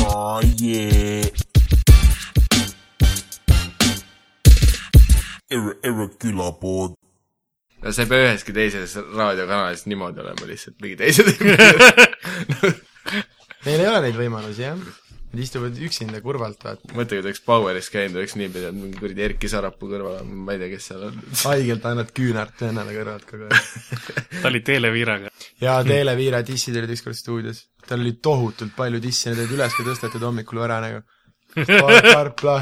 Oh yeah. Ir- Irregular board. no see ei pea üheski teises raadiokanalis niimoodi olema lihtsalt , mingi teised Neil ei ole neid võimalusi , jah . Nad istuvad üksinda kurvalt , vaata . mõtle , kui ta oleks Poweris käinud , oleks niipidi , et mingi kuradi Erki Sarapuu kõrval on , ma ei tea , kes seal on . haigelt annad küünart endale kõrvalt kogu aeg . ta oli televiiraga . ja Teele Viira dissid olid ükskord stuudios . tal oli tohutult palju disse , need olid üles ka tõstetud hommikul ära nagu . Karpla ,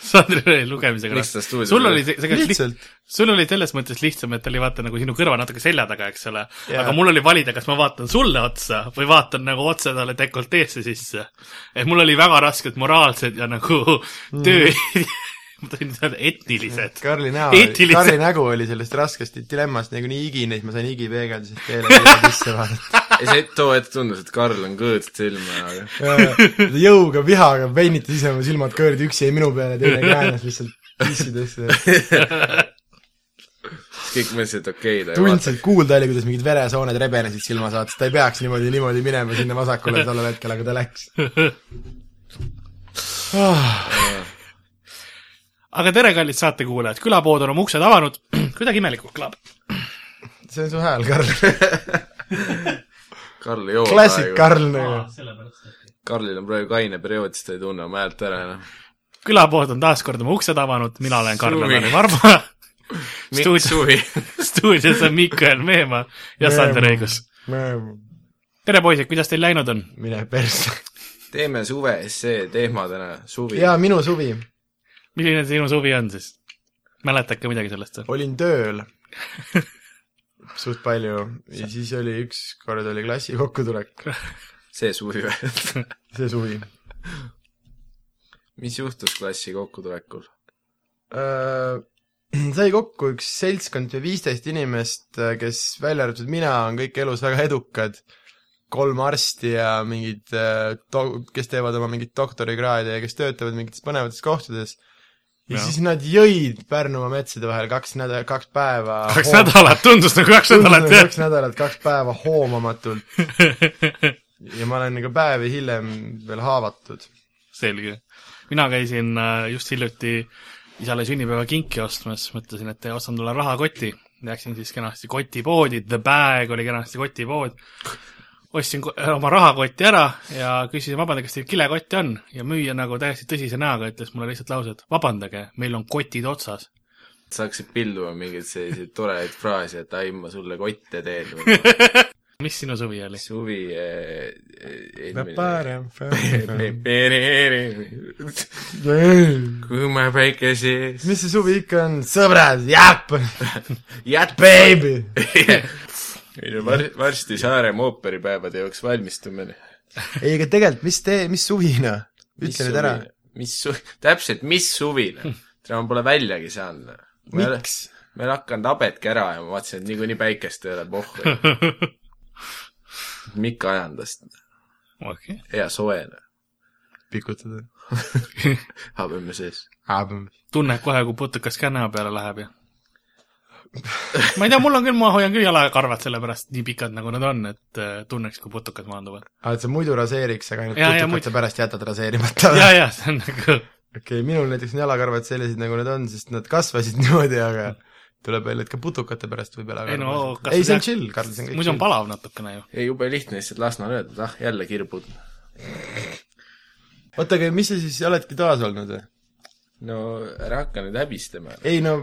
Sandril oli lugemisega Miks ta raske . stuudios sul oli? oli see , tegelikult lihtsalt . sul oli selles mõttes lihtsam , et ta oli vaata nagu sinu kõrva natuke selja taga , eks ole . Jaa. aga mul oli valida , kas ma vaatan sulle otsa või vaatan nagu otse talle dekolteesse sisse . et mul oli väga rasked moraalsed ja nagu töö ma tahtsin öelda etnilised . Mm. Karli näo , Eetilised. Karli nägu oli sellest raskest dilemmast nagu nii higine , siis ma sain higi peegeldusest Teele Viira disse vaadata . ei , see too hetk tundus , et Karl on kõõtst silma , aga jõuga , vihaga veinitas ise oma silmad kõõrdi , üks jäi minu peale , teine käänes lihtsalt dissidesse . siis kõik mõtlesid , et okei okay, , ta ei vaata . tundsid , kuulda oli , kuidas mingid veresooned rebenesid silma saates , ta ei peaks niimoodi , niimoodi minema sinna vasakule tollel hetkel , aga ta läks . aga tere , kallid saatekuulajad , külapood on oma uksed avanud , kuidagi imelikult kõlab . see on su hääl , Karl . Karl ei joo klassik praegu . Karl nagu . Karlil on praegu kaine periood , siis ta ei tunne oma häält ära enam . külapood on taas kord oma uksed avanud , mina olen Suvi. Karl-Lari Varba . Mikk stuudios , Suvi . stuudios on Mikael Meemaa ja Sander Õigus . tere , poisid , kuidas teil läinud on ? mine persse . teeme suve essee teema täna , suvi . jaa , minu suvi . milline sinu suvi on siis ? mäletad ka midagi sellest või ? olin tööl suht palju ja siis oli ükskord oli klassi kokkutulek , see suvi või ? see suvi . mis juhtus klassi kokkutulekul ? Äh, sai kokku üks seltskond või viisteist inimest , kes välja arvatud mina , on kõik elus väga edukad , kolm arsti ja mingid , kes teevad oma mingit doktorikraadi ja kes töötavad mingites põnevates kohtades . ja Jah. siis nad jõid Pärnumaa metsade vahel kaks nädalat , kaks päeva . kaks nädalat , tundus nagu kaks nädalat jah . kaks nädalat , kaks päeva hoomamatult ja ma olen nagu päevi hiljem veel haavatud . selge . mina käisin äh, just hiljuti isale sünnipäevakinki ostmas , mõtlesin , et ostan talle rahakoti . Läksin siis kenasti kotipoodi , The Bag oli kenasti kotipood . ostsin ko- äh, oma rahakoti ära ja küsisin , vabandage , kas teil kilekotti on ? ja müüja nagu täiesti tõsise näoga ütles mulle lihtsalt lause , et vabandage , meil on kotid otsas . saaksid pilduma mingeid selliseid toredaid fraase , et ai , ma sulle kotte teen või mis sinu suvi oli ? suvi eh, eh, eelmine mis kui ma päike sees see suvi ikka on , sõbrad , jääp , jät- baby . ei no var- , varsti Saaremaa ooperipäevade jaoks valmistumine . ei , aga tegelikult , mis tee , mis suvina ? ütle nüüd ära . mis su- , täpselt , mis suvine ? täna ma pole väljagi saanud . miks ?? ma ei ole hakanud habetki ära ajama , vaatasin , et niikuinii päikest ei ole , pohhu . Mika ajandas , okei . hea soe , pikutada . habeme sees . tunned kohe , kui putukas ka näo peale läheb ja ma ei tea , mul on küll , ma hoian küll jalakarvad sellepärast nii pikad , nagu nad on , et äh, tunneks , kui putukad maanduvad . aa , Ah, et sa muidu raseeriks , aga ainult Jaa, jaa, putukad muidu. sa pärast jätad raseerimata ja , ja see on nagu , okei , minul näiteks on jalakarvad sellised , nagu nad on , sest nad kasvasid niimoodi , aga tuleb välja , et ka putukate pärast võib ei no jalakarvad kas ei , see on chill , Karl , see on kõik muidu on palav natukene ju . ei , jube lihtne lihtsalt Lasnamäel öelda , et ah , jälle kirbud . oota , aga mis sa siis oledki toas olnud või ? no ära hakka nüüd häbistama . ei no ,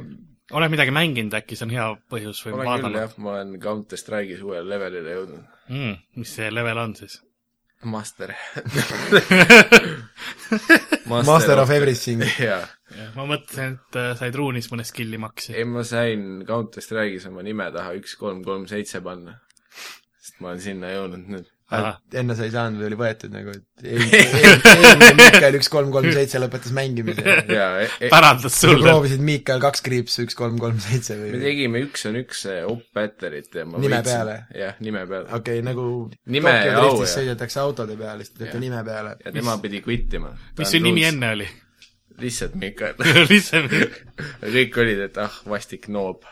oled midagi mänginud äkki , see on hea põhjus või olen küll vaadanud jah , ma olen Counter Strike'is uuele levelile jõudnud . mm, , mis see level on siis ? Master Master of Everything . jaa , ma mõtlesin , et äh, said ruunis mõne skill'i maksi . ei ma sain Counter Strike'is oma nime taha üks kolm kolm seitse panna . sest ma olen sinna jõudnud nüüd . Ahah. enne sa ei saanud või oli võetud nagu , et eelmine eel, eel, Miikael üks kolm kolm seitse lõpetas mängimise . jaa , e, pärandas sulle . proovisid Miikael kaks kriipsu üks kolm kolm seitse me või ? tegime üks on üks eh, up battle'it ja ma Nime peale? jah , nime peale . okei , nagu Nime Tokyo ja au, driftis jah. sõidetakse autode peale , siis te teete Jah. nime peale . ja tema pidi kvittima . mis su nimi ? enne oli ? lihtsalt Mikael . lihtsalt , kõik olid , et ah , vastik noob ,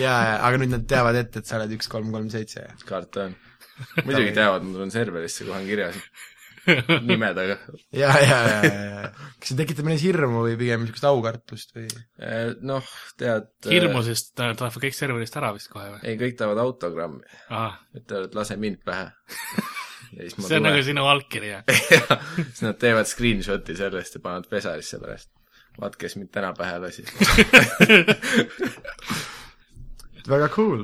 jaa , jaa , aga nüüd nad teavad ette , et sa oled üks kolm kolm seitse . karta on . muidugi teavad , mul on serverisse kohe on kirjas , nimedega . ja , ja , ja , ja , ja . kas see tekitab meis hirmu või pigem niisugust aukartust või ? noh , tead . hirmu , sest ta läheb äh, kõik serverist ära vist kohe või ? ei , kõik tahavad autogrammi , ütlevad , lase mind pähe . ja siis ma see on tulen nagu . sinu allkiri , jah ? siis nad teevad screenshot'i sellest ja panevad pesarisse pärast . vaat , kes mind täna pähe lasi . väga cool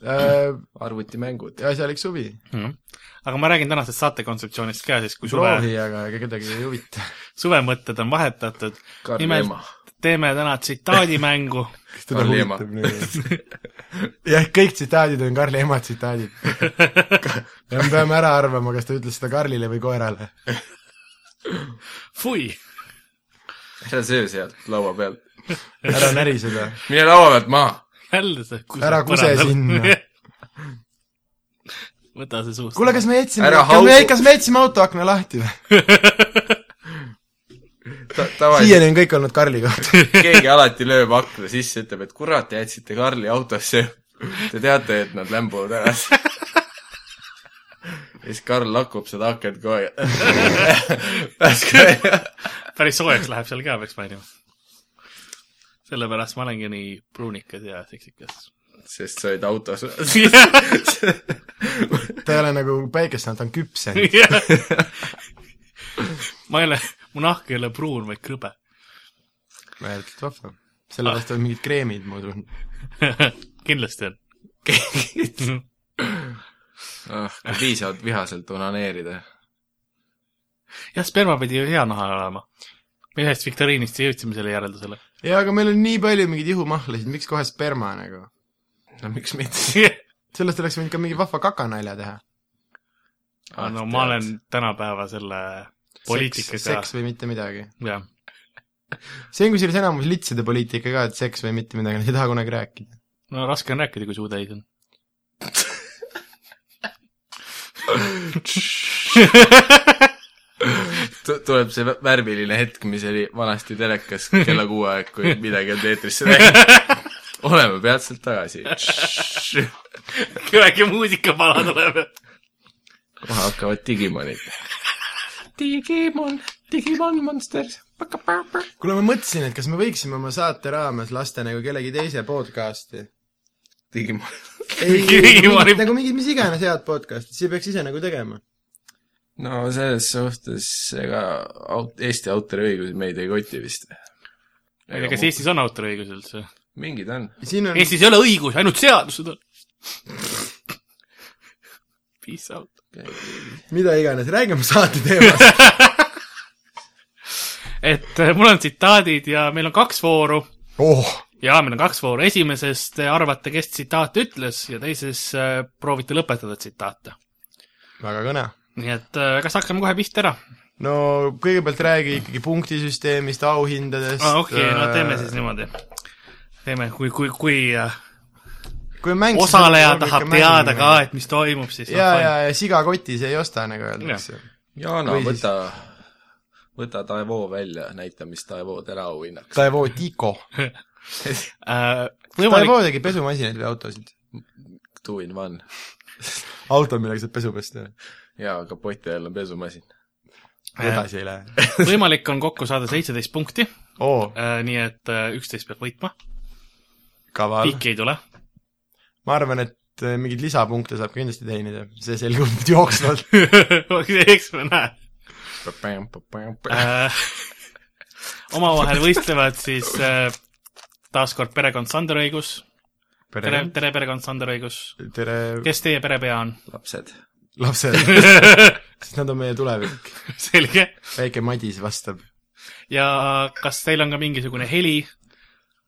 äh, . arvutimängud . asjalik suvi . aga ma räägin tänasest saate kontseptsioonist ka siis , kui suve , Mhm. proovi , aga ega kedagi ei huvita . suvemõtted on vahetatud . Karl Nimelt- Ema . teeme täna tsitaadimängu kas teda Karli huvitab nagu ? jah , kõik tsitaadid on Karli ema tsitaadid . ja me peame ära arvama , kas ta ütles seda Karlile või koerale . fui , ära söö sealt laua pealt . ära näri seda . mine laua pealt maha . jälle see kuse Ära kuse sinna. . võta see suust . kuule , kas me jätsime , Ära kas me haugu. , kas me jätsime autoakna lahti või ? tavaliselt siiani on kõik olnud Karli kohta . keegi alati lööb akna sisse , ütleb , et kurat , jätsite Karli autosse . Te teate , et nad lämbuvad ära . ja siis Karl lakub seda akent kogu aeg . pääske välja . päris soojaks läheb seal ka , peaks mainima . sellepärast ma olengi nii pruunikas ja seksikas . sest sa olid autos . ta ei ole nagu päikest saanud , ta on küpsenud . ma ei ole , mu nahk ei ole pruun , vaid krõbe . ääretult vahva . sellepärast on mingid kreemid , ma usun . kindlasti on . ah , kui piisavalt vihaselt onaneerida . jah , sperma pidi ju hea naha olema . me ühest viktoriinist jõudsime selle järeldusele . jaa , aga meil on nii palju mingeid ihumahlasid , miks kohe sperma nagu ? no miks mitte ? sellest oleks võinud ka mingi vahva kakanalja teha . Ah, no ma olen tänapäeva selle poliitikaga , seks või mitte midagi . jah . see on kusjuures enamus litside poliitika ka , et seks või mitte midagi , nad ei taha kunagi rääkida . no raske on rääkida , kui suu täis on . Tu- tuleb see vä- värviline hetk , mis oli vanasti telekas kella kuue aeg , kui midagi on eetrisse läinud . oleme peatselt tagasi . kohe kuidagi muusikapala tuleb . hakkavad Digimonid . Digimon, Digimon Monsters. kuule , ma mõtlesin , et kas me võiksime oma saate raames lasta nagu kellegi teise podcast'i . Digimon . ei , Igimari- nagu mingid mis iganes head podcast'id , see peaks ise nagu tegema . no selles suhtes ega aut- , Eesti autoriõigusi meid ei koti vist . aga kas ? Eestis on autoriõigus üldse ? mingid on . siin on , Eestis ei ole õigus , ainult seadused on . Peace out . mida iganes , räägime saate teemast . et eh, mul on tsitaadid ja meil on kaks vooru oh , ja meil on kaks vooru , esimeses te arvate , kes tsitaate ütles ja teises eh, proovite lõpetada tsitaate . väga kõne nii et eh, kas hakkame kohe pihta ära ? Ah, no kõigepealt räägi ikkagi punktisüsteemist , auhindadest aa , Ah, okei , äh, no teeme siis . niimoodi . teeme , kui , kui , kui eh, kui on mäng . osaleja tahab teada ka , et mis toimub , siis ja , ja , ja siga kotis ei osta , nagu öeldakse . Jaana , Või siis- võta , võta Taevo välja , näita , mis Taevo tera auhinnaks . Taivo Tiiko . ja . Taivo Äh, võimalik , tegi pesumasinaid või autosid ? Two in one . auto , millega saab pesu pesta . jaa , aga poti all on pesumasin . edasi ei lähe . võimalik on kokku saada seitseteist punkti , oo , nii et eh, üksteist peab võitma , kaval . piiki ei tule . ma arvan , et eh, mingeid lisapunkte saab kindlasti teenida , see selgub nüüd jooksvalt . eks me näe . äh, omavahel võistlevad siis äh, taaskord perekond Sander Õigus , tere , tere , tere perekond Sander Õigus . tere kes teie perepea on ? lapsed . lapsed , sest nad on meie tulevik . selge . väike Madis vastab . ja kas teil on ka mingisugune heli ,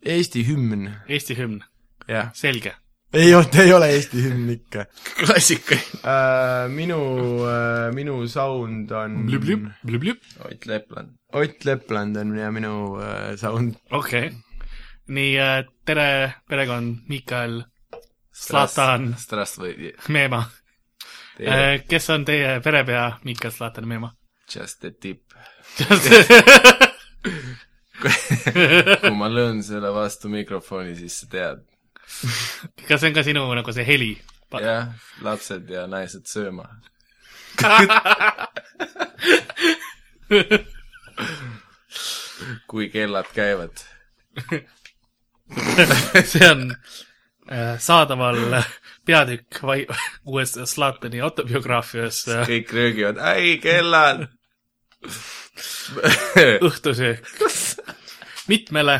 Eesti hümn , Eesti hümn ? jah . selge . ei , ei ole Eesti hümn ikka klassikaline . Äh, minu , minu sound on blüblüp . Ott Lepland . Ott Lepland on ja minu äh, sound okei okay. . nii äh, , tere perekond Miikael , Zlatan , Strasbourg , Meema . Äh, kes on teie perepea Miikael , Zlatan , Meema ? just the tip . kui ma löön selle vastu mikrofoni , siis sa tead . kas see on ka sinu nagu see heli ? jah , lapsed ja naised sööma . kui kellad käivad . see on äh, saadaval peatükk vai- , uues Zlatani autobiograafias äh, kõik röögivad , ai kellad . õhtusöök mitmele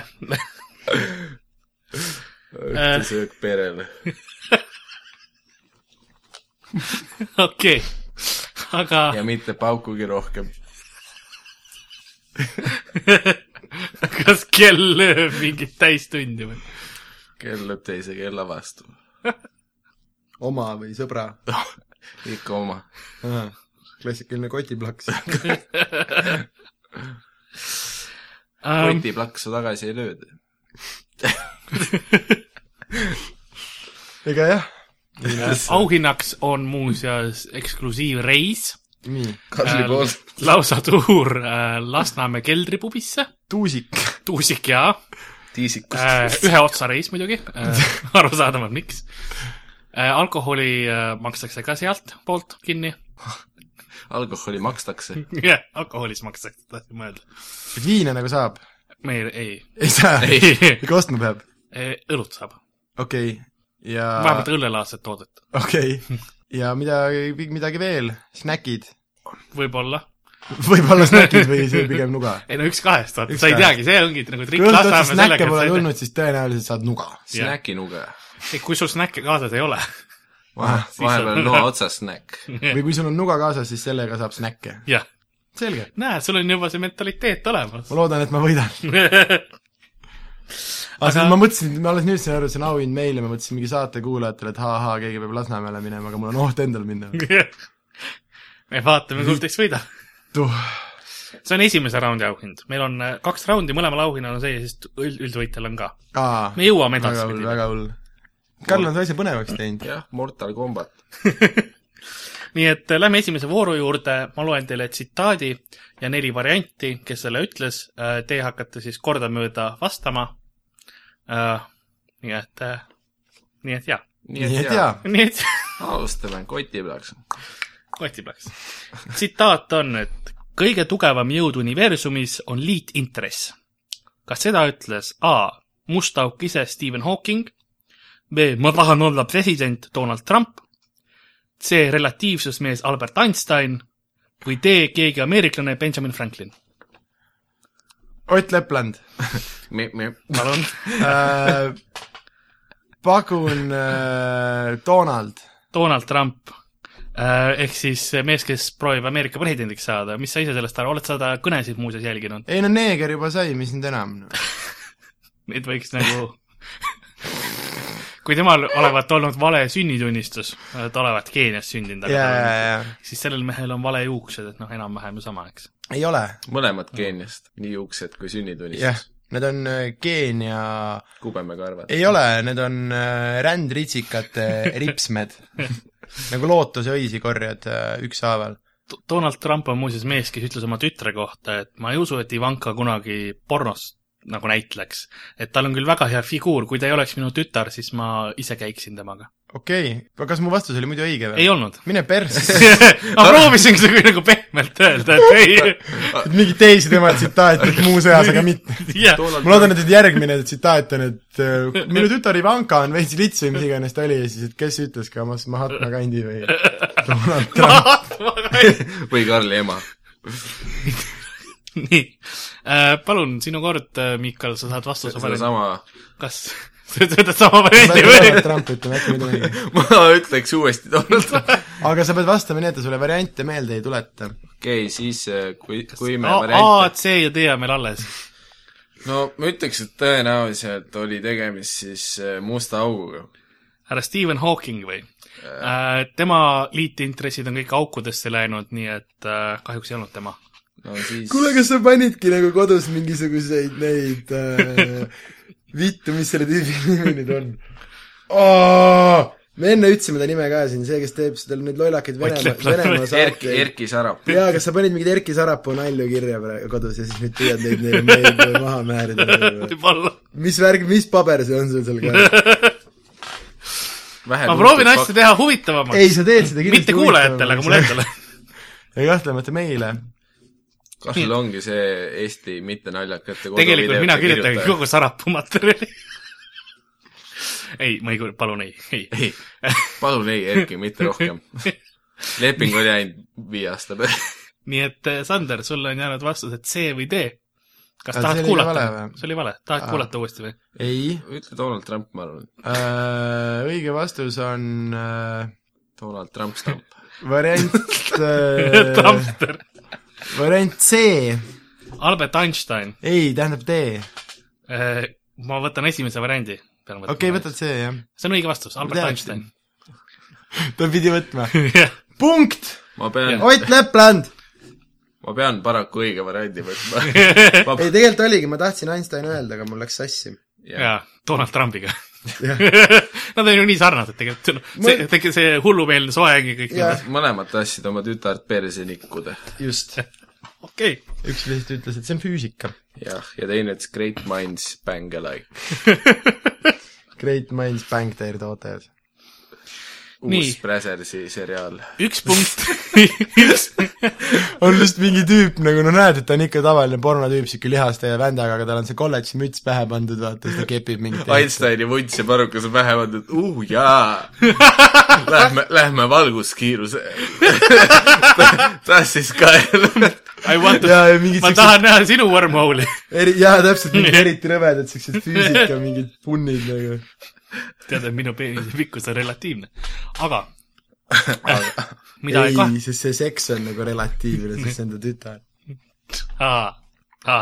õhtusöök perele . okei okay. , aga ja mitte paukugi rohkem . kas kell lööb mingit täistundi või ? kell lööb teise kella vastu . oma või sõbra ikka oma . Ahah, klassikaline kotiplaks . Um, kotiplaksu tagasi ei lööda . ega jah , äh, auhinnaks on muuseas eksklusiivreis , nii , Äh, Karli poolt . lausa tuur äh, Lasnamäe keldripubisse , tuusik . Tuusik jaa tiisikust äh, . ühe otsa reis muidugi äh, , arusaadavalt miks äh, . alkoholi äh, makstakse ka sealtpoolt kinni , alkoholi makstakse . jah , alkoholis makstakse , tahtsin mõelda . viina nagu saab ? meil ei, ei saa , ei. , ikka ostma peab ? õlut saab , okei okay. , ja vähemalt Äh. õllelaadset toodet , okei okay. , ja midagi , midagi veel , snäkid . võib-olla . võib-olla snäkid või see pigem nuga . ei no üks kahest , vaata , Üks sa ei kahest. teagi , see ongi nagu kui trikk , õlut Lasnamäe otsast snäkke sellega , pole et sa ei tulnud , siis tõenäoliselt saad nuga . snäkinuge . tea , kui sul snäkke kaasas ei ole , vahepeal noa otsas snäkk . või kui sul on nuga kaasas , siis sellega saab snäkke . jah . selge , näed , sul on juba see mentaliteet olemas . ma loodan , et ma võidan . aga see- ma mõtlesin , ma alles nüüd sain aru , see on auhind meile , ma mõtlesin mingi saate kuulajatele , et ha-ha , keegi peab Lasnamäele minema , aga mul on oht endal minna . me vaatame , kumb teist võidab . tuh , see on esimese raundi auhind , meil on äh, kaks raundi , mõlemal auhinnal on see ja siis üld , üldvõitjal on ka . aa . me jõuame väga hull , edasi . väga hull . Karl on su asja põnevaks teinud . jah , Mortal Combat . nii et äh, lähme esimese vooru juurde , ma loen teile tsitaadi ja neli varianti , kes selle ütles . Teie hakkate siis kordamööda vastama . nii et , nii et jaa , nii et jaa . nii et alustame koti peaks . kotti peaks . tsitaat on , et kõige tugevam jõud universumis on liitintress . kas seda ütles A must auk ise Stephen Hawking , B ma tahan olla president Donald Trump , C relatiivsusmees Albert Einstein või D keegi ameeriklane Benjamin Franklin . Ott Lepland me , me , palun , äh, . pakun äh, Donald . Donald Trump äh, ehk siis mees , kes proovib Ameerika presidendiks saada , mis sa ise sellest arvad , oled sa ta kõnesid muuseas jälginud ? ei no neeger juba sai , mis nüüd enam . neid võiks nagu kui temal olevat olnud vale sünnitunnistus , ta olevat Keenias sündinud , ja , ja , ja , siis sellel mehel on vale juuksed , et noh , enam-vähem ju sama , eks . ei ole . mõlemad Keeniast , nii juuksed kui jah sünnitunnistus , need on äh, Keenia , kubemekarvad . ei ole , need on äh, rändritsikate ripsmed . nagu lootuse õisi korjad äh, ükshaaval . Donald Trump on muuseas mees , kes ütles oma tütre kohta , et ma ei usu , et Ivanka kunagi pornos nagu näitleks . et tal on küll väga hea figuur , kui ta ei oleks minu tütar , siis ma ise käiksin temaga . okei okay. , aga kas mu vastus oli muidu õige või ? ei olnud . mine persse ma proovisin seda nagu pehmelt öelda , et ei , et mingeid teisi tema tsitaate muuseas , aga mitte . jah , ma loodan , et nüüd järgmine tsitaat on , et äh, minu tütar Ivanka on veits lits või mis iganes ta oli ja siis , et kes ütles , kas Mahatma Gandhi või Donald Trump . või Karli ema . nii , palun , sinu kord , Miikal , sa saad vastuse valida . sedasama , kas sa ütled sama varianti Donald või ? Trump ütleme äkki midagi õige . ma ütleks uuesti Donald Trump . aga sa pead vastama nii , et ta sulle variante meelde ei tuleta . okei , siis äh, kui , kui me A , variante C ja D on meil alles . no ma ütleks , et tõenäoliselt oli tegemist siis äh, musta auguga . härra Stephen Hawking või ? tema liitintressid on kõik aukudesse läinud , nii et äh, kahjuks ei olnud tema . no siis kuule , kas sa panidki nagu kodus mingisuguseid neid äh, vittu , mis selle tüübi nimi nüüd on oh! ? me enne ütlesime ta nime ka siin , see , kes teeb seda , neid lollakaid Venemaa , Lepland. Venemaa Erki , saateid . Erki Sarap . jaa , kas sa panid mingeid Erki Sarapuu nalju kirja praegu kodus ja siis nüüd püüad neid neile meelde maha määrida ? võib-olla . mis värg , mis paber see on sul seal käes ? ma proovin asja teha huvitavamaks . ei , sa teed seda kindlasti mitte kuulajatele , aga mulle endale . ja kahtlemata meile . kas sul ongi see Eesti mittenaljakate tegelikult mina kirjutan kogu Sarapuu materjali . ei , ma ei , palun ei , ei . ei , palun ei , Erki , mitte rohkem . leping oli ainult viie aasta peale . nii et eh, Sander , sulle on jäänud vastus , et see või tee . kas Aga see tahad oli kuulata vale või? ? see oli vale , tahad Aa. kuulata uuesti või ? ei ütle Donald Trump , ma arvan . äh, , õige vastus on äh, Donald Trump stamp . variant äh, , Tamster . variant C , Albert Einstein . ei , tähendab D . ma võtan esimese variandi . okei okei , võtad . C , jah . see on õige vastus , Albert tean, Einstein . ta pidi võtma . jah , punkt , ma pean , Ott Lepland . ma pean paraku õige variandi võtma . ei , tegelikult oligi , ma tahtsin Einstein öelda , aga mul läks sassi . ja Donald Trumpiga . Jah. Nad on ju nii sarnased tegelikult , see , see, see hullumeelne soeng ja kõik Jah. need , mõlemad tahtsid oma tütart perse nikkuda . just , okei . üks lihtsalt ütles , et see on füüsika . jah , ja teine ütles Great minds bang alike . Great minds bang their daughters . uus Nii. Bräsersi seriaal . üks punkt , üks , on lihtsalt mingi tüüp nagu no näed , et ta on ikka tavaline pornotüüp , siuke lihaste ja vändaga , aga tal on see kolledži müts pähe pandud , vaata , siis ta kepib mingit Einsteini vunts ja parukas on pähe pandud , uh jaa . Lähme , lähme valguskiiruse . tassis kael . I want to , ja , ja mingid ma siuksed tahan näha sinu wormhole'i . eri , jaa , täpselt , mingid eriti rõvedad siuksed füüsika mingid punnid nagu . tead , et minu peenise pikkus on relatiivne , aga mida ei, ei ei , sest see seks on nagu relatiivne , sest see on ta tütar . kahtle ,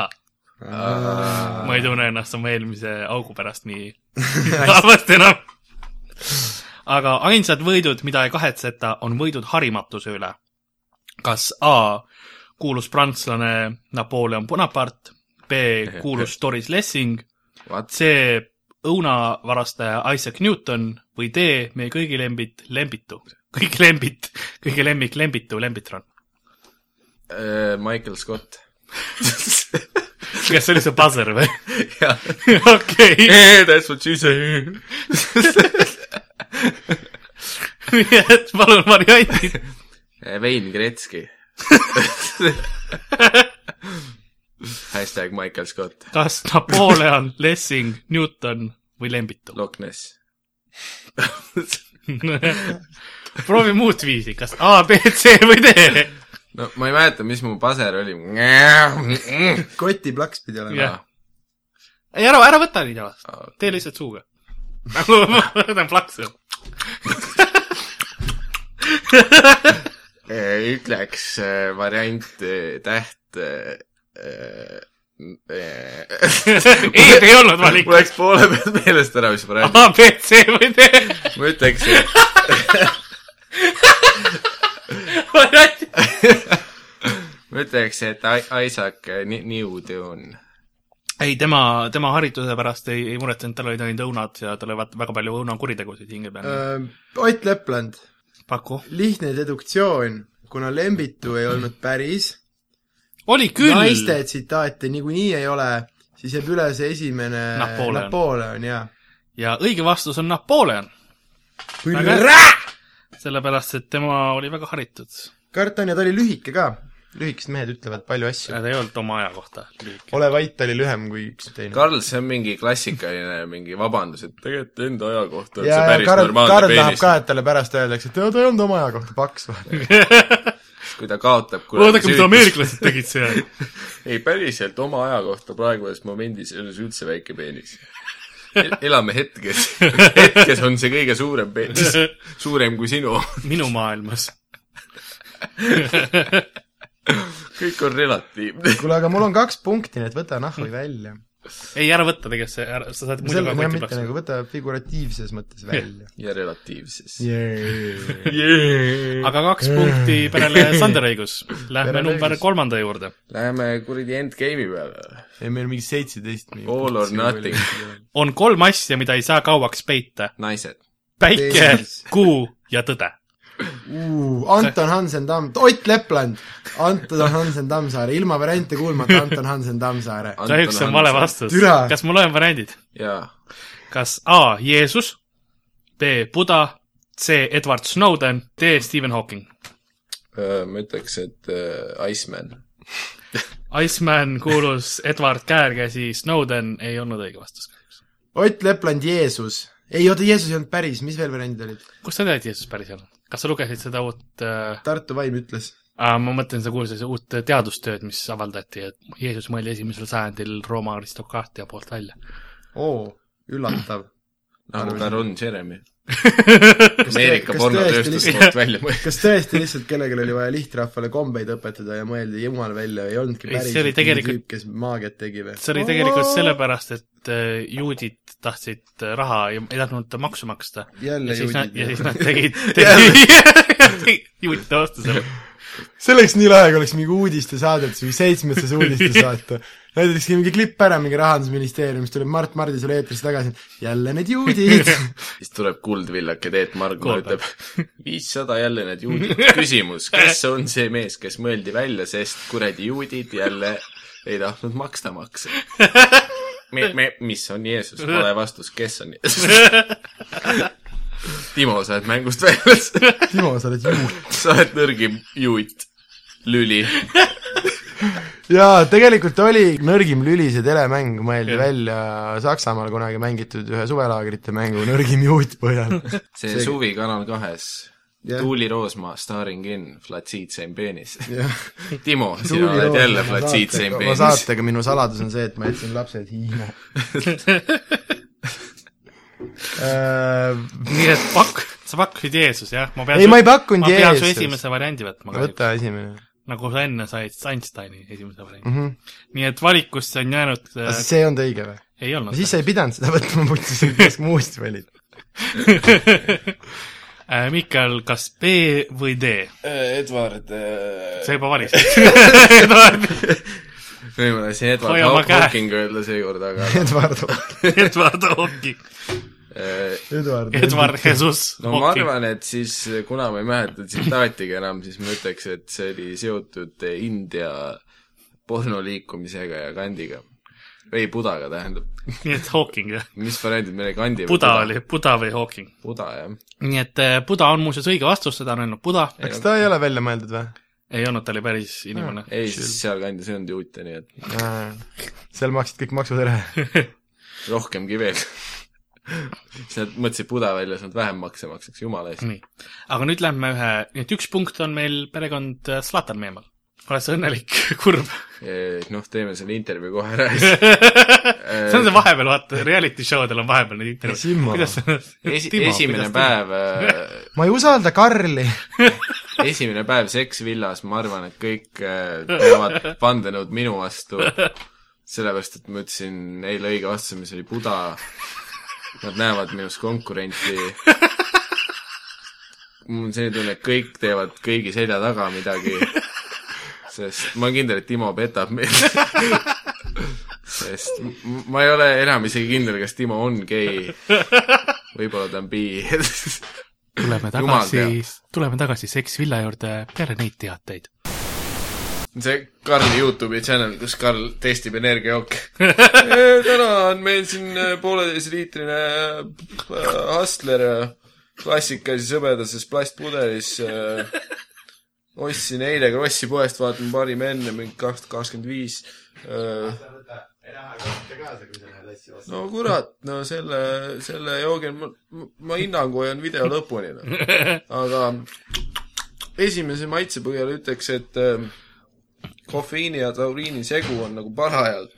ma ei tunne ennast oma eelmise augu pärast nii halvasti enam . aga ainsad võidud , mida ei kahetseta , on võidud harimatuse üle . kas A kuulus prantslane Napoleon Bonaparte , B kuulus Doris Lessing , What ? C õunavarastaja Isaac Newton või D meie kõigi lembit Lembitu , kõik lembit , kõige lemmik Lembitu , Lembitron . Äh, Michael Scott . kas see oli see buzzer või ? jah . okei , That's what you say . nii et palun variandid . Vein Gretzki . Hashtag Michael Scott , kas Napoleon , Lessing , Newton või Lembitu ? Loch Ness . proovi muud viisi , kas A , B , C või D . no ma ei mäleta , mis mu paser oli . kotiplaks pidi olema . jah . ei , ära , ära võta nii jalast . tee lihtsalt suuga . nagu ma võtan plaksu . ütleks äh, variant äh, täht äh, äh, . ei , ei olnud valik mul . läks poole pealt meelest ära , mis variant . A , B , C või D . ma ütleks , et ma ütleks , et I- Isaac äh, Ni- Newton . ei , tema , tema harituse pärast ei , ei muretsenud , tal olid ainult õunad ja tal oli vaata väga palju õunakuritegusid hinge Äh, peal . Ott Lepland , paku . lihtne deduktsioon , kuna Lembitu ei olnud päris , oli küll naiste . tsitaate niikuinii ei ole , siis jääb üle see esimene Napoleon. Napoleon , jaa . ja õige vastus on Napoleon , küll Väga hea. rää- sellepärast et tema oli väga haritud . kartan ja ta oli lühike ka . lühikesed mehed ütlevad palju asju . Äh, ta ei olnud oma aja kohta lühike . ole vait oli lühem kui üks teine . Karl , see on mingi klassikaline mingi vabandus , et tegelikult enda aja kohta on ja see , ja päris Karl , normaalne Karl tahab peenis ka , et talle pärast öeldakse , et ta ei olnud oma aja kohta paks . kui ta kaotab vaadake , mida . ameeriklased tegid seal . ei , päriselt oma aja kohta praeguses momendis ei ole see üldse väike peenis . elame hetkes , hetkes on see kõige suurem peenis , suurem kui sinu . minu maailmas . kõik on relatiivne . kuule , aga mul on kaks punkti , nii et võta Mm. nahvi välja . ei , ära võta tegelikult see , ära , sa saad muidu selle , ka jah , kotti mitte plaksu . nagu , võta figuratiivses mõttes välja . ja relatiivses . aga kaks punkti perele Sander õigus . Lähme Perele number õigus. kolmanda juurde . Läheme kuradi endgame'i peale . ei , meil on mingi seitseteist . All or nothing. . on kolm asja , mida ei saa kauaks peita . naised . päike Tees. , kuu ja tõde . Anton Hansen Tamm , Ott Lepland , Anton Hansen Tammsaare , ilma variante kuulmata Anton Hansen Tammsaare . kahjuks on vale . vastus Türa. . kas ma loen variandid ? jaa , kas A Jeesus , B Buda , C Edward Snowden , D Stephen Hawking . ma ütleks , et äh, Iceman . Iceman , kuulus Edward Käärkäsi , Snowden ei olnud õige vastus . Ott Lepland , Jeesus . ei oota , Jeesus ei olnud päris , mis veel variandid olid ? kust sa tead , et Jeesus päris ei olnud ? kas sa lugesid seda uut äh, , Tartu vaim ütles . ma mõtlen , sa kuulsid seda uut teadustööd , mis avaldati , et Jeesus mõeldi esimesel sajandil Rooma aristokraatia poolt välja . oo , üllatav . nagu Baron Jeremy . Kas te- Ameerika kas pornotööstus tõesti poolt välja mõeldud . kas tõesti lihtsalt kellelgi oli vaja lihtrahvale kombeid õpetada ja mõeldi jumal välja , ei olnudki Ei, see päris oli tegelikult- tüüp , kes maagiat tegi või ? see oli tegelikult sellepärast , et äh, juudid tahtsid äh, raha ja ei tahtnud maksu maksta . ja jälle siis nad , ja siis juudid . nad tegid , tegid juutide vastu selle . see oleks nii lahe , kui oleks mingi uudistesaadetes või seitsmestes uudistesaate . näidatakse mingi klipp ära mingi rahandusministeeriumist , tuleb Mart Mardisalu eetrisse tagasi , jälle need juudid . siis tuleb kuldvillake Teet Margma , Kuulda. ütleb viissada jälle need juudid . küsimus , kes on see mees , kes mõeldi välja , sest kuradi juudid jälle ei tahtnud maksta makse me, . Me, mis on Jeesus ? vale vastus , kes on Jeesus ? Timo , sa oled mängust väljas . Timo , sa oled juut . sa oled nõrgim juut , lüli . jaa , tegelikult oli Nõrgim lüli , see telemäng mõeldi Jah. välja Saksamaal kunagi mängitud ühe suvelaagrite mängu Nõrgim juut põhjal . see suvi Kanal kahes . Tuuli Roosma starring in Flatsiit Sein Peenis . jah , Timo , sina oled jälle Flatsiit Sein ma Peenis . saatega , minu saladus on see , et ma jätsin lapsed Hiina . Äh, nii et pakk , sa pakkusid Jeesus , jah ? ei , ma ei pakkunud ma pean su Jeesust . esimese variandi võtma kahjuks , võta esimene nagu sa enne said Einsteini esimese variandi . mm . -hmm. nii et valikusse on jäänud aga äh, , siis see ei olnud õige või ? ei olnud . siis sa ei pidanud seda võtma , muidu sa oleks muust valid . Äh, Mikael , kas B või D ? Edward . sa juba valisid . võib-olla lasin Edward Hoia oma Hawk- käe. Hawking öelda seekord , aga Eduard , Edward Hawking , eh, Eduard . Edward Jesus no ma . arvan , et siis , kuna ma ei mäleta tsitaatigi enam , siis ma ütleks , et see oli seotud äh, India pornoliikumisega ja kandiga . ei , budaga tähendab . nii et Hawking jah , mis variandid meil oli , kandi või Buda ? oli , Buda või Hawking . buda , jah . nii et äh, Buda on muuseas õige vastus , seda on öelnud Buda , kas ta ei ole välja mõeldud või ? ei olnud , ta oli päris inimene . ei , siis sealkandis ei olnud juute , nii et seal maksid kõik maksud ära . rohkemgi veel . siis nad mõtlesid buda välja , siis nad vähem makse maksaks , jumala eest . nii , aga nüüd lähme ühe , nii et üks punkt on meil perekond äh, Zlatan meemal . oled sa õnnelik , kurb ? noh , teeme selle intervjuu kohe ära ja siis see on see vahepeal , vaata , reality show del on vahepeal need intervjuud . Simmo , kuidas see Esi- , esimene . päev , äh, ma ei usalda Karli . esimene päev seksvillas , ma arvan , et kõik äh, peavad vandenõud minu vastu , sellepärast et ma ütlesin neile õige vastuse , mis oli Buda . Nad näevad minus konkurenti . mul on selline tunne , et kõik teevad kõigi selja taga midagi . sest ma olen kindel , et Timo petab meid . sest m- ma ei ole enam isegi kindel , kas Timo on gei . võib-olla ta on bi . Jumal tuleme tagasi , tuleme tagasi Seks Villa juurde peale neid teateid . see Karli Youtube'i channel , kus Karl testib energiajooke Eh, täna on meil siin eh, pooleteiseliitrine eh, Hustler eh, klassikalises hõbedases plastpudelis . ostsin eile Krossi poest , vaatan parim enne , mingi kaks tuhat kakskümmend viis . no kurat , no selle , selle joogi ma, ma- ma hinnangu hoian video lõpuni , noh . aga esimese maitse põhjal ütleks , et eh, kofeiini ja tauriini segu on nagu parajalt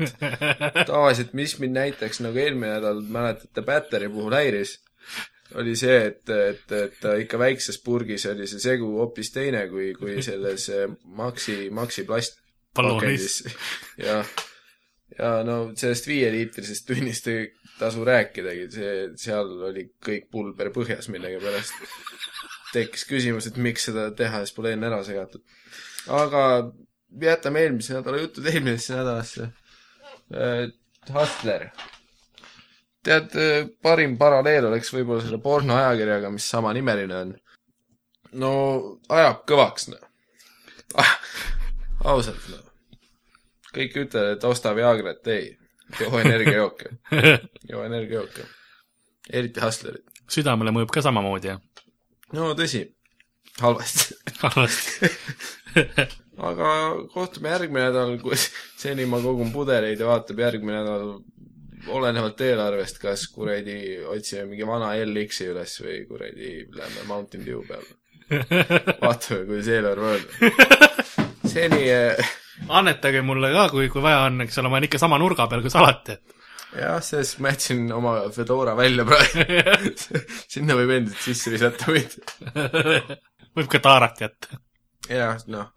tavaliselt , mis mind näiteks nagu eelmine nädal mäletate Battery puhul häiris , oli see , et , et , et ikka väikses purgis oli see segu hoopis teine kui , kui selles eh, Maxi , Maxi plast- . Balloonis. . jah , ja no sellest viieliitrisest tünnist ei tasu rääkidagi , see , seal oli kõik pulber põhjas millegipärast . tekkis küsimus , et miks seda teha , siis pole enne ära segatud . aga jätame eelmise nädala jutud eelmisesse nädalasse äh, Hustler . tead , parim paralleel oleks võib-olla selle pornoajakirjaga , mis samanimeline on . no ajab kõvaks , noh . ausalt , noh . kõik ütlevad , et osta Viagrat , ei . joo energiajooke , joo energiajooke . eriti Hustlerit . südamele mõjub ka samamoodi , jah ? no tõsi , halvasti . halvasti . aga kohtume järgmine nädal , kus seni ma kogun pudeleid ja vaatab järgmine nädal olenevalt eelarvest , kas kuradi otsime mingi vana LX-i üles või kuradi lähme Mountain Dew peale . vaatame , kuidas eelarve on . seni eh, annetage mulle ka , kui , kui vaja on , eks ole , ma olen ikka sama nurga peal , kus alati , et jah , sest ma jätsin oma Fedora välja praegu . sinna võib endiselt sisse visata võid . võib ka taarat jätta . jah , noh ,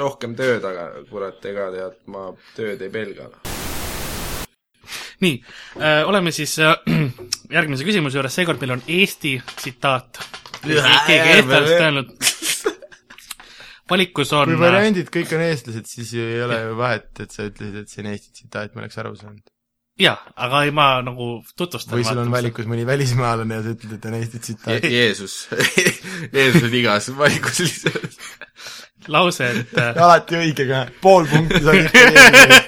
rohkem tööd , aga kurat , ega tead , ma tööd ei pelga . nii , oleme siis äh, järgmise küsimuse juures , seekord meil on Eesti tsitaat . keegi eestlast öelnud . valikus on kui , variandid kõik on eestlased , siis ju ei ole ju vahet , et sa ütlesid , et see on Eesti tsitaat , ma oleks aru saanud . jaa , aga ei ma nagu tutvustan . või sul on . valikus mõni välismaalane ja sa ütled , et on Eesti tsitaat . Jeesus , Jeesus on igas valikus lihtsalt . lause , et äh, alati õige ka , pool punkti saad ikka keegi .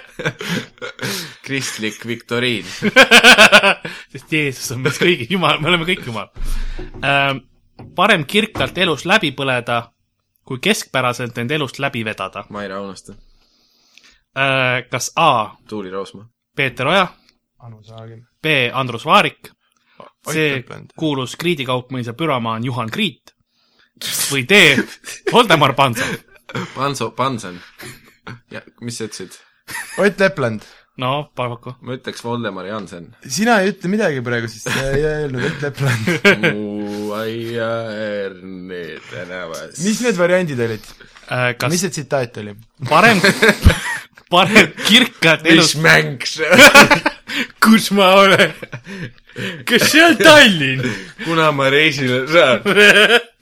kristlik viktoriin . sest Jeesus on meist kõigi jumal , me oleme kõik jumal ähm, . parem kirkalt elus läbi põleda , kui keskpäraselt end elust läbi vedada Maire Aunaste , äh, . kas A Tuuli Roosma . Peeter Oja , Anu Saagim . B Andrus Vaarik , C Oitland. kuulus kriidikaupmees ja püramaan Juhan Kriit või D Voldemar Pansa . Panso , Panson . ja , mis sa ütlesid ? Ott Lepland , no , Parvaku . ma ütleks Voldemar Jansen . sina ei ütle midagi praegu , sest sa ei öelnud Ott Lepland . mu aia Erne tänavas . mis need variandid olid ? Äh, mis kas see tsitaat oli ? parem , parem kirkalt elus mis mäng see on ? kus ma olen ? kas see on Tallinn ? kuna ma reisile saan ?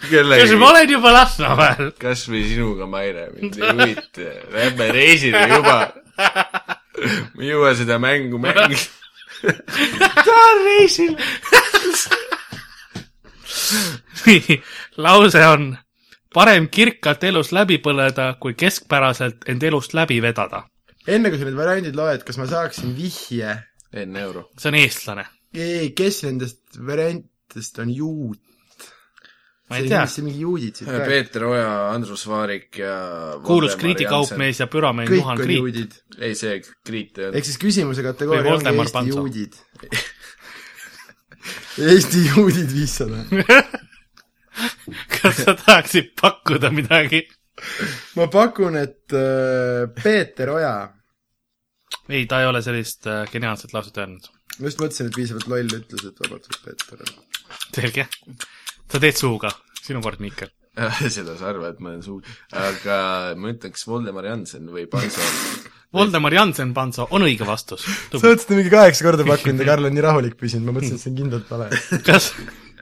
kellegi kas ma olen juba Lasnamäel ? kas või sinuga , Maire , mind ei huvita , lähme reisile juba . ma ei jõua seda mängu mängida . ta on reisil . nii , lause on parem kirkalt elus läbi põleda , kui keskpäraselt end elust läbi vedada . enne kui sa need variandid loed , kas ma saaksin vihje ? enne euro . see on eestlane . ei , kes nendest variantidest on juut ? ma ei tea , see mingi juudi tsitaat . Peeter Oja , Andrus Vaarik ja kuulus Voldemar kriidikaupmees ja püramenn kõik Juhan on Kriit . juudid . Jansen. ei , see Kriit on ehk siis küsimuse Või kategooria ongi Voldemar Eesti Panso. juudid . Eesti juudid viissada . kas sa tahaksid pakkuda midagi ? ma pakun , et äh, Peeter Oja , ei , ta ei ole sellist äh, geniaalset lauset öelnud . ma just mõtlesin , et piisavalt loll ütles , et vabandust , Peeter Oja . selge . sa teed suuga . sinu kord , Miikel . seda sa arvad , ma olen suu- , aga ma ütleks Voldemar Jansen või Panso . Voldemar Jansen Panso on õige vastus . sa oled seda mingi kaheksa korda pakkunud ja Karl on nii rahulik püsinud , ma mõtlesin , et see on kindlalt vale . kas ,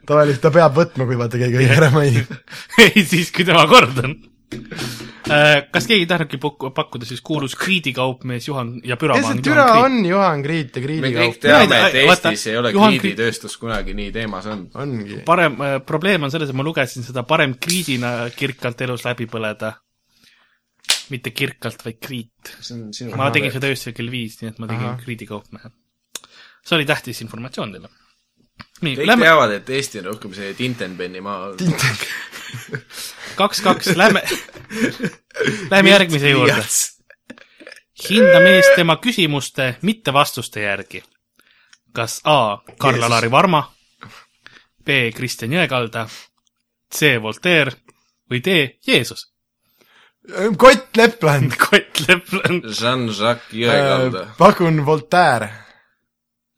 tavaliselt ta peab võtma , kui vaata keegi õige ära mainib . ei siis , kui tema kord on . kas keegi tahabki pakku- , pakkuda siis kuulus kriidikaupmees Juhan ja kes see püramaan türa Juhan Kriit ? on Juhan Kriit ja me Kriidi kõik kaup ? teame , Mina ei et tea- vaata, Eestis ei ole Juhan kriiditööstus kunagi nii teemas olnud . ongi . parem , probleem on selles , et ma lugesin seda parem kriidina kirkalt elus läbi põleda . mitte kirkalt , vaid kriit . see on sinu ma tegin seda öösel kell viis , nii et ma tegin Ahah. kriidikaupmehe . see oli tähtis informatsioon teile . nii , kõik lähme teavad , et Eesti on rohkem see Tintenbenni maa olnud . kaks-kaks , lähme , lähme järgmise juurde . hinda meest tema küsimuste , mitte vastuste järgi . kas A Karl-Alari Varma , B Kristjan Jõekalda , C Voltaire või D Jeesus ? Kott Lepland . Kott Lepland , Jean-Jacques Äh, Jõekalda . pakun Voltaire .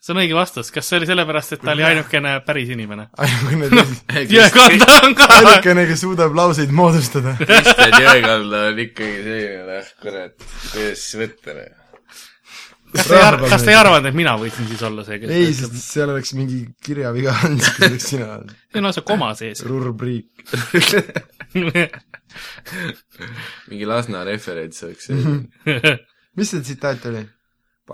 see on õige vastus , kas see oli sellepärast , et ta oli ainukene päris inimene ? ainukene , Jõekalda on ka , ainukene , kes suudab lauseid moodustada . Kristjan Jõekalda on ikkagi selline , noh , kurat , kuidas võtta , noh . kas te ei arva , kas te ei arvanud , et mina võisin siis olla see , kes ei , sest seal oleks mingi kirjaviga olnud , siis oleks sina olnud. siin on see koma sees . rubriik . mingi Lasna referents oleks see . mis see tsitaat oli ? Mhm.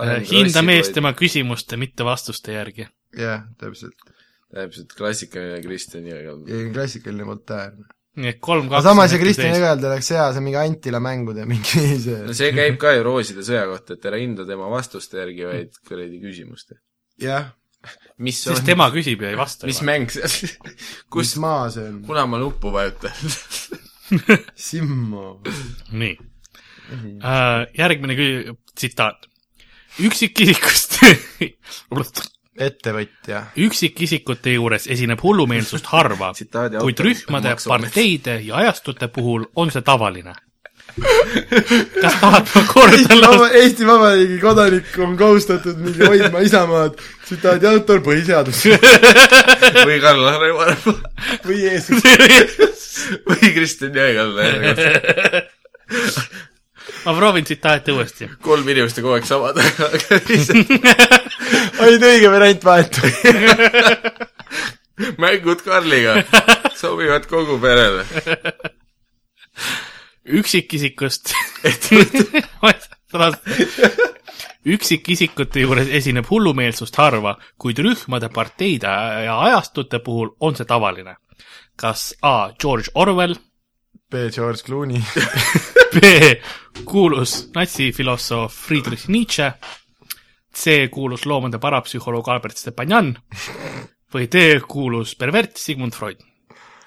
Äh, hinda meest . tema küsimuste , mitte vastuste järgi . jah , täpselt . täpselt , klassikaline Kristjan Jõekalda . klassikaline Voltaire . nii et kolm , aga kaks . samas ja Kristjan Jõgelda oleks hea , see on mingi Antila mängude mingi see no . see käib ka ju Rooside sõja kohta , et ära hinda tema vastuste järgi , vaid kuradi küsimuste . jah , mis siis on , tema küsib ja ei vasta . mis mäng see on ? kus mis , maa see on ? kuna ma nuppu vajutan ? Simmo . nii Mhm. äh, . järgmine kü- , tsitaat . üksikisikust ettevõtja . üksikisikute juures esineb hullumeelsust harva , Tsitaadi kuid autor- rühmade , Maksuamet. parteide ja ajastute puhul on see tavaline . kas tahad , ma kordan lausa ? Eesti Vabariigi kodanik on kohustatud mingi hoidma isamaad , tsitaadi autor , põhiseadus või Karl-Lari Varma või Jeesus . või Kristjan Jõekalda . ma proovin tsitaati uuesti . kolm inimest on kogu aeg sama taga , aga lihtsalt ainult õige variant vahetu . mängud Karliga sobivad kogu perele . üksikisikust üksikisikute juures esineb hullumeelsust harva , kuid rühmade , parteide ja ajastute puhul on see tavaline . kas A George Orwell , B George Clooney , B kuulus natsifilosoof Friedrich Nietzsche , C kuulus loomade parapsühholoog Albert Stepanjan või D kuulus pervert Sigmund Freud .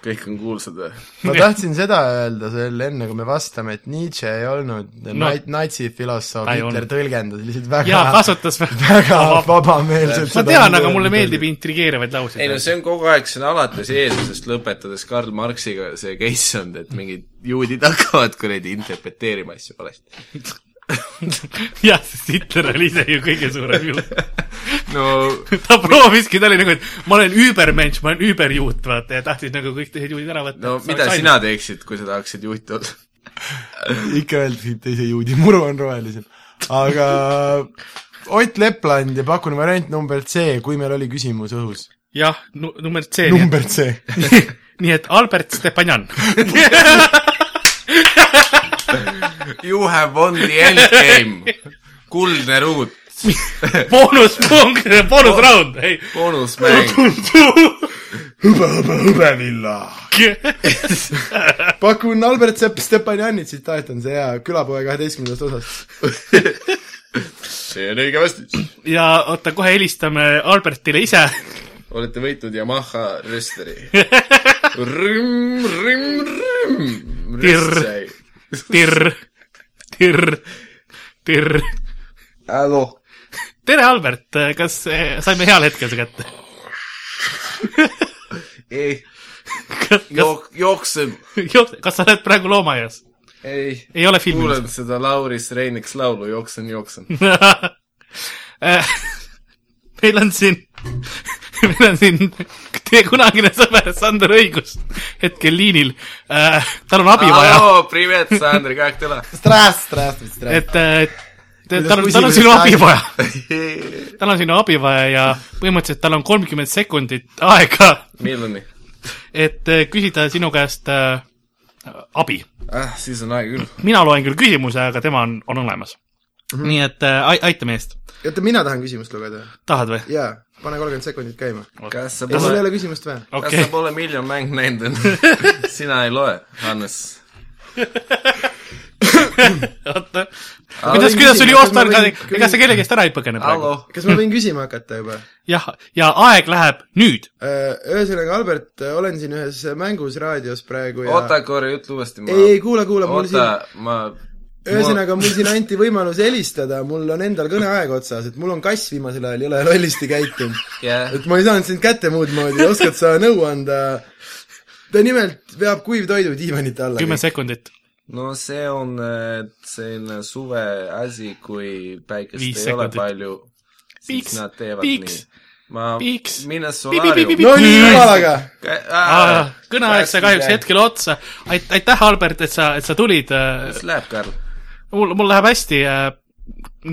kõik on kuulsad või ? ma tahtsin seda öelda sulle enne , kui me vastame , et Nietzsche ei olnud no, natsifilosoof , ta ei Hitler olnud. tõlgendas lihtsalt väga jaa ,, kasutas väga väga vabameelselt ma tean , aga mulle meeldib intrigeerivaid ei no lauseid . see on kogu aeg , see on alates eelmisest lõpetades Karl Marxiga see case olnud , et mingid juudid hakkavad kuradi interpreteerima asju valesti . jah , sest Hitler oli ise ju kõige suurem juut . no ta prooviski , ta oli nagu , et ma olen übermensch , ma olen überjuut , vaata , ja tahtis nagu kõik teised juudid ära võtta . no mida sina teeksid , kui sa tahaksid juht olla ? ikka öeldakse , et teise juudi muru on rohelisem . aga Ott Lepland ja pakun variant number C , kui meil oli küsimus õhus . jah , number C . number C . nii et Albert Stepanjan . You have won the end game , kuldne ruut , boonuspunkt , boonusraund , ei . boonusmäng . hõbevilla . pakun Albert Sepp Stepanjanit , tsitaat on see hea külapoe kaheteistkümnendast osast . see on õige vastus . ja oota , kohe helistame Albertile ise . olete võitnud Yamaha rösteri . rõõm , rõõm , rõõm . Tirr. tirr , tirr , tirr . Allo . tere , Albert , kas eh, saime heal hetkel su kätte ? ei , kas , jook- , jooksen . kas , kas sa oled praegu loomaaias ? ei . ei ole filmis kuulen seda Lauris Reiniks laulu Jooksen , jooksen . Eh, meil on siin , meil on siin teie kunagine sõber Sander Õigus hetkel liinil . tal on abi vaja , Allo , privet , Sander , как дела ? Strast , strast , strast . et eh, ta- tal on , tal on sinu abi vaja , tal on sinu abi vaja ja põhimõtteliselt tal on kolmkümmend sekundit aega , milleni ? et eh, küsida sinu käest eh, abi ah , siis on aeg küll . mina loen küll küsimuse , aga tema on , on olemas mm . -hmm. nii et äh, ai- aita meest , oota , mina tahan küsimust lugeda . tahad või ? jaa , pane kolmkümmend sekundit käima . kas sa ja sul ei pole , ole küsimust vaja ? kas okei sa , pole Miljon Mäng näinud enne ? sina ei loe , Hannes . oota . kuidas , kuidas sul küsimus, joost kas ma on , võin- ega sa kellegi eest ära ei põgene praegu ? Allo . kas ma võin küsima hakata juba ? jah , ja aeg läheb nüüd . ühesõnaga , Albert , olen siin ühes mängus raadios praegu ja oota korra , ütle uuesti . ei , ei kuula , kuula , mul siin oota , ma . ühesõnaga , mul siin anti võimalus helistada , mul on endal kõneaeg otsas , et mul on kass viimasel ajal jõle lollisti käitunud . jah , et ma ei saanud sind kätte muud moodi , oskad sa nõu anda ? ta nimelt veab kuivtoidu diivanite alla . kümme sekundit , no see on äh, selline suve asi , kui päikest Viis ei ole sekundit. palju . siis Piiks, nad teevad piiks, nii . ma piiks. , mine Pi- pi- solaariumi pi- . no nii jumalaga ! kõneaeg sai kahjuks . hetkel otsa . aitäh , Albert , et sa , et sa tulid . mis läheb , Karl ? mul , mul läheb hästi .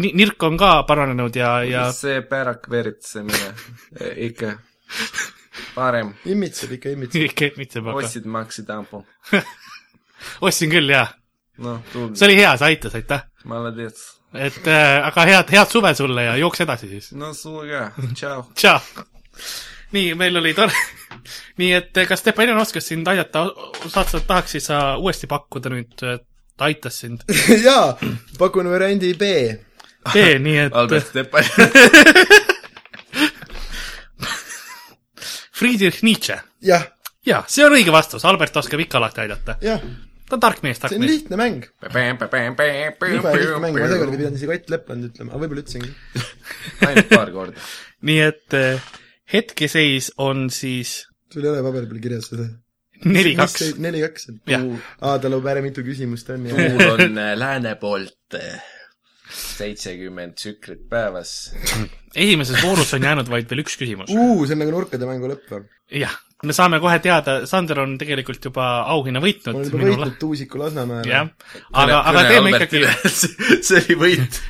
Nirk on ka paranenud ja , ja see pärak veeritsemine eh, ikka parem . immitseb ikka , immitseb . ikka mitte ma ostsid Maxi tampon . ostsin küll jaa . noh , see tubli , oli hea , see aitas , aitäh . maledets . et äh, aga head , head suve sulle ja jookse edasi siis . no sulle ka , tšau . tšau . nii , meil oli tore . nii et eh, kas Stepanjan oskas sind aidata , saad sa , tahaksid sa äh, uuesti pakkuda nüüd , ta aitas sind . jaa , pakun variandi B . tee nii , et , Albert Stepan . Friedrich Nietzsche . jah , jaa , see on õige vastus , Albert oskab ikka alati aidata . jah , ta on tark mees , tark see on mees . lihtne mäng . jube lihtne mäng , ma seekord ei pidanud isegi Ott Lepland ütlema , aga võib-olla ütlesingi . ainult paar korda . nii et eh, hetkeseis on siis sul ei ole paberi peal kirjas seda ? neli , kaks . neli , kaks on Jah. . aa , tal on päris mitu küsimust on ja mul on äh, lääne poolt äh, seitsekümmend tsüklit päevas . esimeses voorus on jäänud vaid veel üks küsimus . uu , see on nagu nurkade mängu lõpp või ? jah , me saame kohe teada , Sander on tegelikult juba auhinna ma võitnud olen juba . võitnud Tuusiku Lasnamäele jah ., aga , aga teeme ikkagi . see oli võit .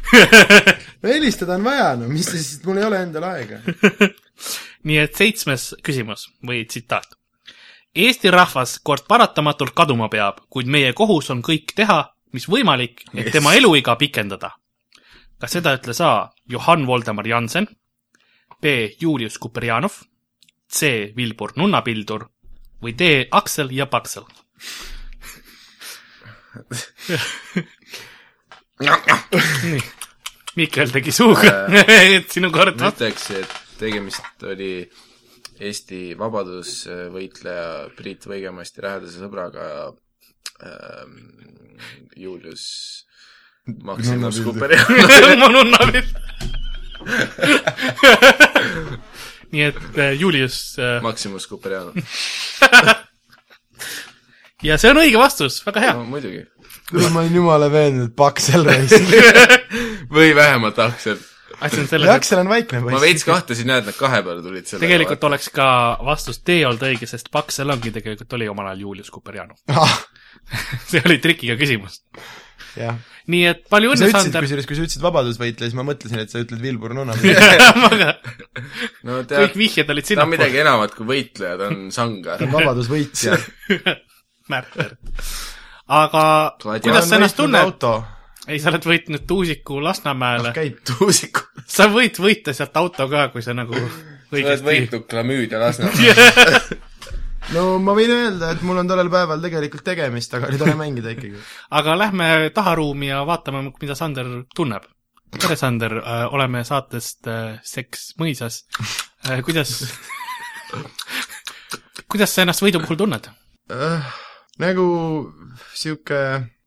no helistada on vaja , no mis te siis , mul ei ole endal aega . nii et seitsmes küsimus või tsitaat . Eesti rahvas kord paratamatult kaduma peab , kuid meie kohus on kõik teha , mis võimalik , et Yes. yes. tema eluiga pikendada . kas seda ütles A Johann Voldemar Jansen , B Julius Kuperjanov , C Vilbur Nunnapildur või D Aksel ja Paksel ? nii , Mikkel tegi suuga , et sinu kord ma vastus . ütleks , et tegemist oli Eesti vabadusvõitleja Priit Võigemasti lähedase sõbraga ähm, Julius Maximus Nunnapildur. Kuperjanov . ma nunnan nüüd . nii et äh, Julius äh, Maximus Kuperjanov ja see on õige vastus , väga hea no, . muidugi . kuule , ma olin jumala veendunud , Paksel reis . või vähemalt aktsiat . asi on selles , et Aksel on vaikne ma poiss . veits kahtlesin jah , et nad kahe peale tulid selle tegelikult oleks ka vastus D olnud õige , sest Paksel ongi tegelikult oli omal ajal Julius Kuperjanov . Ah, see oli trikiga küsimus . jah , nii et palju sa õnne , ütlesid , Sander . kusjuures , kui sa ütlesid vabadusvõitleja , siis ma mõtlesin , et sa ütled Vilbur Nunna . no tead kõik , vihjed olid ta on midagi sinnapoole . enamat kui võitleja , ta on sangar . vabadusvõitja . märter . aga kuidas sa ennast tunned ? auto Noh, ei , sa oled võitnud Tuusiku Lasnamäele . käib . tuusiku . sa võid võita sealt auto ka , kui sa nagu sa oled õigesti võitnud klamüüd ja Lasnamäe . no ma võin öelda , et mul on tollel päeval tegelikult tegemist , aga ei tule mängida ikkagi . aga lähme taharuumi ja vaatame , mida Sander tunneb . tere , Sander , oleme saatest äh, Seks mõisas . kuidas , kuidas sa ennast võidu puhul tunned ? nagu sihuke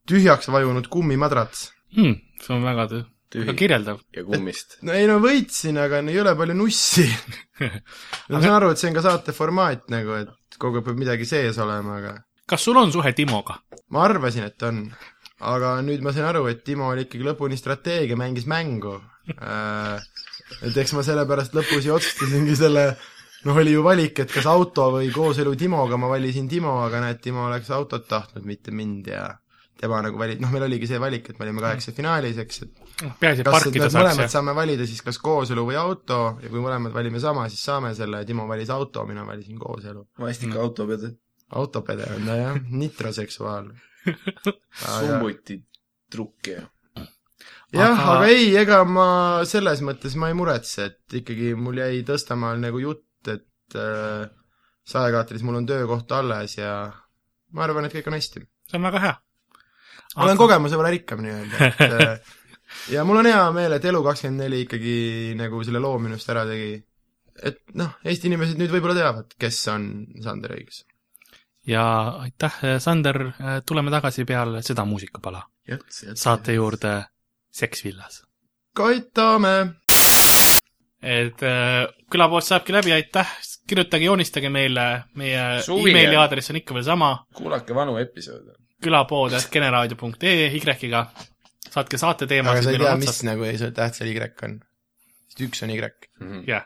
tühjaks vajunud kummimadrats . Hmm, see on väga tõ- väga tühi kirjeldav . ja kummist . no ei no võitsin , aga ei ole palju nussi . ma saan aru , et see on ka saate formaat nagu , et kogu aeg peab midagi sees olema , aga kas sul on suhe Timoga ? ma arvasin , et on . aga nüüd ma sain aru , et Timo oli ikkagi lõpuni strateegia , mängis mängu . et eks ma sellepärast lõpus ju otsustasingi selle , noh , oli ju valik , et kas auto või kooselu Timoga , ma valisin Timo , aga näed , Timo oleks autot tahtnud , mitte mind ja tema nagu vali- , noh , meil oligi see valik , et me olime kaheksa finaalis , eks , et peaasi , et kas parkida need saaks mõlemad Mm. ja saame valida siis kas kooselu või auto ja kui mõlemad valime sama , siis saame selle , Timo valis auto , mina valisin kooselu . vastik autopede . autopede on ta jah , nitroseksuaal . Ah, summuti trukkija . jah Aga- aga... , aga ei , ega ma selles mõttes ma ei muretse , et ikkagi mul jäi Tõstamaal nagu jutt , et äh, saekaatris mul on töökoht alles ja ma arvan , et kõik on hästi . see on väga hea . ma olen kogemuse võrra rikkam nii-öelda , et äh, ja mul on hea meel , et Elu24 ikkagi nagu selle loo minust ära tegi . et noh , Eesti inimesed nüüd võib-olla teavad , kes on Sander Õigus . ja aitäh , Sander , tuleme tagasi peale seda muusikapala saate juurde Seks villas . Koitame , et äh, külapood saabki läbi , aitäh , kirjutage , joonistage meile , meie Suvine. emaili aadress on ikka veel sama , kuulake vanu episoode . külapood at generaadio.ee Y-ga , saatke aga saate sa teemasid , ei meil tea , on mis otsas . nagu ei- see tähtsal Y on . sest üks on Y , jah ,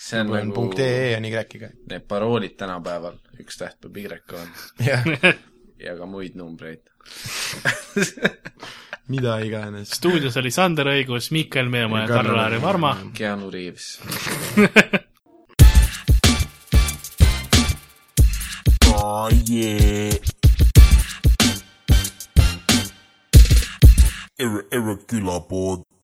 see on on Mhm. nagu punkt EE on Y-ga . need paroolid tänapäeval , üks täht peab Y-ga olema jah ja ka muid numbreid . mida iganes . stuudios oli Sander Õigus , Miikael Meemaa ja Karl-Laari Varma . Keanu Reaves . Oh yeah. Ir- irregular board.